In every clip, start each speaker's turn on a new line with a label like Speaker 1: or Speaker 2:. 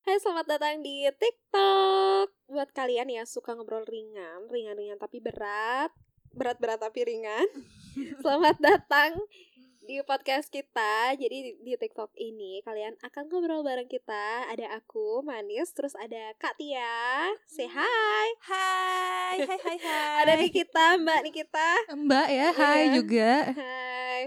Speaker 1: Hai, selamat datang di TikTok. Buat kalian yang suka ngobrol ringan, ringan-ringan tapi berat, berat-berat tapi ringan. selamat datang di podcast kita. Jadi di- di TikTok ini kalian akan ngobrol bareng kita. Ada aku, Manis, terus ada Kak Tia. Say hi.
Speaker 2: Hai, hai, hai, hai.
Speaker 1: Ada Nikita, Mbak Nikita.
Speaker 2: Eh, Mbak ya, hai
Speaker 1: Iya.
Speaker 2: juga.
Speaker 1: Hai.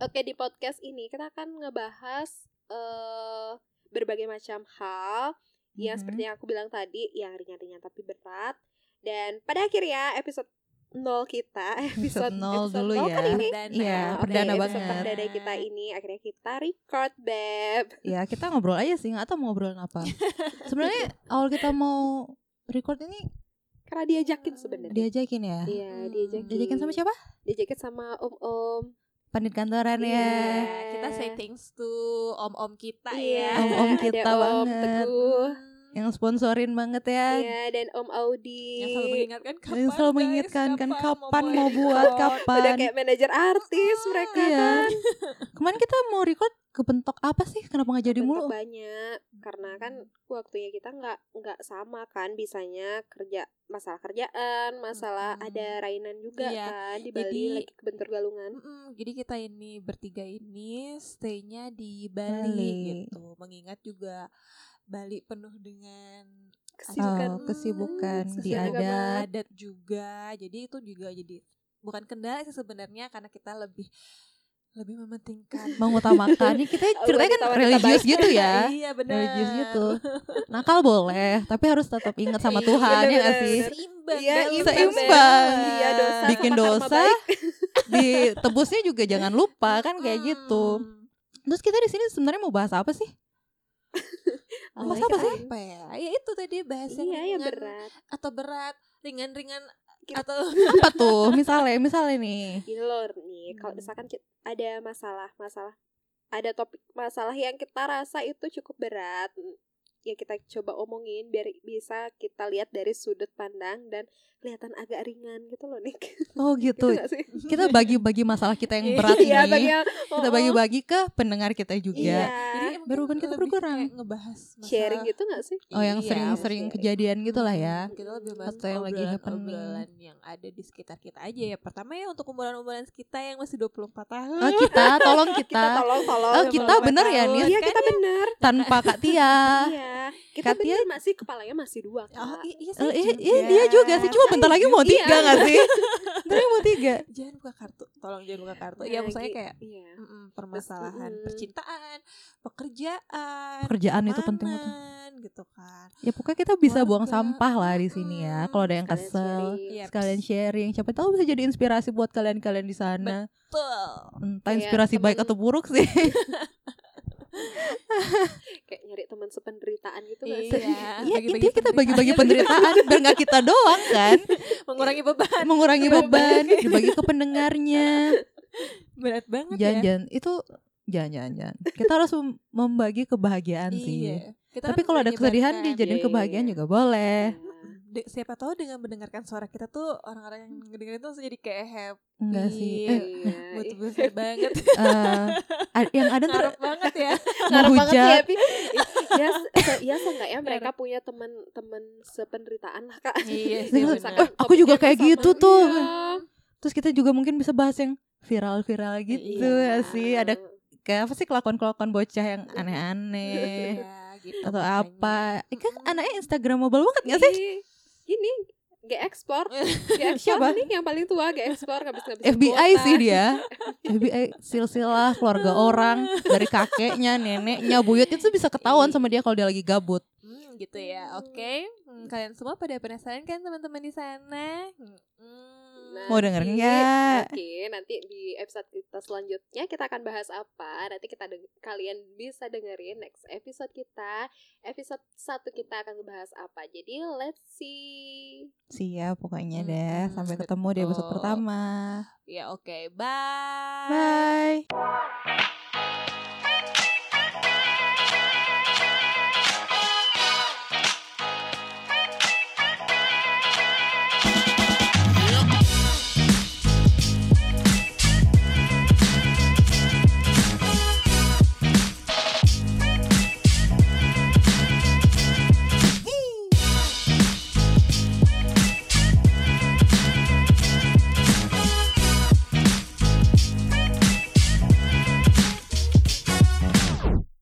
Speaker 1: Oke, di podcast ini kita akan ngebahas eh berbagai macam hal yang
Speaker 2: Mhm.
Speaker 1: seperti yang aku bilang tadi yang ringan-ringan tapi berat dan pada akhirnya episode nol kita episode
Speaker 2: Episode nol
Speaker 1: episode
Speaker 2: dulu
Speaker 1: nol
Speaker 2: ya.
Speaker 1: kan ini
Speaker 3: Perdana.
Speaker 2: Iya,
Speaker 1: Nah, oke,
Speaker 2: perdana
Speaker 1: episode
Speaker 2: banget.
Speaker 1: perdana kita ini akhirnya kita record beb
Speaker 2: Ya, kita ngobrol aja sih, nggak tahu mau ngobrolin apa. Sebenarnya awal kita mau record ini
Speaker 1: karena diajakin sebenarnya
Speaker 2: diajakin ya.
Speaker 1: iya
Speaker 3: Hmm.
Speaker 1: diajakin
Speaker 2: Diajakin sama siapa?
Speaker 1: diajakin sama om om
Speaker 2: Pandit kantoran
Speaker 1: Iya.
Speaker 2: ya.
Speaker 3: Nah, kita say thanks to om-om kita ya.
Speaker 2: Iya, Om-om
Speaker 1: Ada
Speaker 2: kita
Speaker 1: om
Speaker 2: banget.
Speaker 1: teguh
Speaker 2: Yang sponsorin banget ya.
Speaker 1: Iya, dan om Audi
Speaker 3: Yang selalu mengingatkan kapan
Speaker 2: Yang selalu
Speaker 3: guys,
Speaker 2: mengingatkan kan kapan mau
Speaker 3: mulai
Speaker 2: buat
Speaker 3: record.
Speaker 1: udah
Speaker 2: kapan.
Speaker 1: kayak kan? manajer artis mereka
Speaker 2: Iya.
Speaker 1: kan
Speaker 2: Kemarin kita mau record kepentok apa sih? Kenapa nggak jadi
Speaker 1: bentuk
Speaker 2: mulu?
Speaker 1: banyak karena kan
Speaker 2: Hmm.
Speaker 1: waktunya kita nggak nggak sama kan bisanya kerja masalah kerjaan masalah
Speaker 3: Mm-mm.
Speaker 1: ada rainan juga
Speaker 3: Iya,
Speaker 1: kan di Bali
Speaker 3: jadi-
Speaker 1: lagi kebentur galungan
Speaker 3: Mm-mm, jadi kita ini bertiga ini stay-nya di Bali,
Speaker 2: Bali.
Speaker 3: gitu. Mengingat juga Bali penuh dengan Mm,
Speaker 1: kesibukan
Speaker 2: Oh, kesibukan
Speaker 1: Hmm,
Speaker 2: di
Speaker 1: kesibukan
Speaker 2: adat.
Speaker 1: banget.
Speaker 3: adat juga. Jadi itu juga jadi bukan kendala sih sebenarnya karena kita lebih lebih mementingkan
Speaker 2: Mengutamakan. Ini kita
Speaker 1: Wanita-
Speaker 2: ceritanya kan
Speaker 1: wanita
Speaker 2: religius gitu ya.
Speaker 3: iya benar.
Speaker 2: religius
Speaker 1: Nah.
Speaker 2: gitu nakal boleh tapi harus tetap ingat
Speaker 1: Iya,
Speaker 2: sama Tuhan ya nggak
Speaker 1: bener-bener.
Speaker 2: sih
Speaker 3: Iya, Seimbang.
Speaker 1: Iya,
Speaker 3: Bel.
Speaker 1: imbang,
Speaker 2: Seimbang.
Speaker 1: Bel. Iya, dosa
Speaker 2: Bikin
Speaker 1: sama karma
Speaker 2: dosa,
Speaker 1: baik.
Speaker 2: ditebusnya juga jangan lupa kan kayak
Speaker 1: Ah. Hmm.
Speaker 3: Mm-mm.
Speaker 2: gitu terus kita di sini sebenarnya mau bahas apa sih
Speaker 3: Oh,
Speaker 2: Mas
Speaker 3: ya,
Speaker 2: apa sih?
Speaker 3: Apa ya? Ya itu tadi bahas yang
Speaker 1: iya ya
Speaker 3: ringan
Speaker 1: berat
Speaker 3: atau berat, ringan-ringan
Speaker 1: Kita-
Speaker 3: atau
Speaker 2: apa tuh misalnya misalnya nih
Speaker 1: Gini loh nih kalau
Speaker 3: Hmm.
Speaker 1: misalkan ki- ada masalah masalah ada topik masalah yang kita rasa itu cukup berat ya kita coba omongin biar bisa kita lihat dari sudut pandang dan kelihatan agak ringan gitu loh nih
Speaker 2: oh gitu
Speaker 1: nggak sih?
Speaker 2: kita bagi-bagi masalah kita yang
Speaker 3: Iya,
Speaker 2: berat
Speaker 1: Iya, bagi
Speaker 2: ini
Speaker 1: yang-
Speaker 2: kita
Speaker 1: oh, oh.
Speaker 2: bagi-bagi ke pendengar kita
Speaker 1: Iya.
Speaker 2: juga
Speaker 3: Jadi ya mungkin
Speaker 2: Beruban kita
Speaker 3: lebih
Speaker 2: berkurang.
Speaker 3: kayak ngebahas masalah
Speaker 1: Sharing gitu nggak sih?
Speaker 2: oh yang
Speaker 3: Iya,
Speaker 2: sering-sering
Speaker 1: sharing.
Speaker 2: kejadian gitulah ya
Speaker 3: Hmm, Kita lebih bahas
Speaker 2: Atau yang lagi
Speaker 3: obrolan-
Speaker 2: happening.
Speaker 3: obrolan yang ada di sekitar kita aja ya. Pertama ya untuk umuran-umuran kita yang masih 24 tahun.
Speaker 2: oh, kita tolong
Speaker 1: Kita
Speaker 2: kita
Speaker 1: tolong tolong.
Speaker 2: oh kita bener ya
Speaker 3: tahun.
Speaker 2: nih
Speaker 1: Iya kita benar.
Speaker 2: tanpa Kak Tia
Speaker 1: Iya. Kita
Speaker 2: Katia-
Speaker 1: benar masih kepalanya masih dua. Kak.
Speaker 3: Oh, i-
Speaker 2: Eh,
Speaker 3: iya, saya
Speaker 2: iya,
Speaker 3: juga.
Speaker 2: iya, dia juga sih cuma bentar lagi mau
Speaker 1: juga.
Speaker 2: tiga nggak sih bentar lagi mau tiga
Speaker 3: Jangan buka kartu. Tolong jangan buka kartu. Ya maksudnya
Speaker 1: Lagi-
Speaker 3: kayak
Speaker 1: Iya.
Speaker 3: mm-mm, permasalahan
Speaker 1: Mm-mm.
Speaker 3: percintaan, pekerjaan,
Speaker 2: pekerjaan itu penting banget
Speaker 3: pertemanan, gitu kan.
Speaker 2: ya pokoknya kita bisa buang
Speaker 3: Keluarga.
Speaker 2: sampah lah di sini ya
Speaker 3: Mm,
Speaker 2: kalau ada yang
Speaker 1: Sekalian
Speaker 2: kesel
Speaker 1: sharing.
Speaker 3: Iya.
Speaker 2: sekalian sharing siapa tahu bisa jadi inspirasi buat kalian-kalian di sana
Speaker 3: Betul.
Speaker 2: entah
Speaker 1: Kayak
Speaker 2: inspirasi
Speaker 1: temen-
Speaker 2: baik atau buruk sih
Speaker 1: Kayak nyari teman sependeritaan gitu nggak sih?
Speaker 3: Iya,
Speaker 2: ya
Speaker 3: bagi-bagi
Speaker 2: intinya kita bagi-bagi
Speaker 3: penderitaan.
Speaker 2: penderitaan biar nggak kita doang kan
Speaker 3: mengurangi beban.
Speaker 2: mengurangi
Speaker 3: Beban.
Speaker 2: beban dibagi ke pendengarnya
Speaker 3: Berat banget ya.
Speaker 2: jangan-jangan itu jangan-jangan jangan. kita harus mem- membagi kebahagiaan
Speaker 3: Iya.
Speaker 2: sih
Speaker 3: Kita
Speaker 2: tapi
Speaker 3: kan
Speaker 2: kalau ada kesedihan
Speaker 3: menyebarkan.
Speaker 2: dijadiin
Speaker 1: Iya, iya,
Speaker 2: kebahagiaan
Speaker 1: iya.
Speaker 2: juga boleh
Speaker 1: Iya.
Speaker 3: De- siapa tahu dengan mendengarkan suara kita tuh
Speaker 2: Hmm.
Speaker 3: orang-orang yang dengerin tuh jadi kayak happy
Speaker 2: Enggak sih. Eh,
Speaker 1: Iya,
Speaker 3: mood
Speaker 1: iya.
Speaker 3: booster banget
Speaker 2: eh, ad- yang ada ntar
Speaker 3: ngarep banget ya
Speaker 2: mau
Speaker 1: Ngarep banget sih,
Speaker 2: hujan.
Speaker 1: Epi. ya,
Speaker 2: iya,
Speaker 1: se- ya seenggaknya mereka punya teman-teman sependeritaan lah kak.
Speaker 3: Iya
Speaker 2: sih,
Speaker 1: Kalau
Speaker 2: benar.
Speaker 1: misalkan
Speaker 2: Eh, aku juga
Speaker 1: topiknya
Speaker 2: kayak
Speaker 1: sama.
Speaker 2: gitu tuh.
Speaker 1: Iya.
Speaker 2: Terus kita juga mungkin bisa bahas yang viral-viral gitu
Speaker 3: Iya.
Speaker 2: ya sih. Ada kayak apa sih kelakuan-kelakuan bocah yang aneh-aneh
Speaker 3: Iya, gitu
Speaker 2: atau
Speaker 3: makanya.
Speaker 2: apa? Eh, kan
Speaker 3: Mm-mm.
Speaker 2: anaknya Instagramable banget gak sih?
Speaker 1: Ih, Ini gak ekspor, gak ekspor
Speaker 2: Siapa?
Speaker 1: nih yang paling tua gak ekspor habis ngabisin
Speaker 2: FBI
Speaker 1: kuota.
Speaker 2: sih dia. FBI silsilah keluarga orang dari kakeknya, neneknya, buyut itu bisa ketahuan sama dia kalau dia lagi gabut.
Speaker 3: Hmm, gitu ya oke Hmm, kalian semua pada penasaran kan teman-teman di sana Hmm.
Speaker 1: Nah,
Speaker 2: Mau denger
Speaker 1: nanti-
Speaker 2: nggak?
Speaker 1: Oke, nanti di episode kita selanjutnya kita akan bahas apa. Nanti kita deng- kalian bisa dengerin next episode kita. Episode satu kita akan bahas apa. Jadi let's see.
Speaker 2: Siap pokoknya
Speaker 3: Mm,
Speaker 2: deh.
Speaker 1: Hmm,
Speaker 3: mm,
Speaker 2: Sampai ketemu di episode
Speaker 3: betul.
Speaker 2: pertama.
Speaker 3: ya oke bye
Speaker 2: Bye.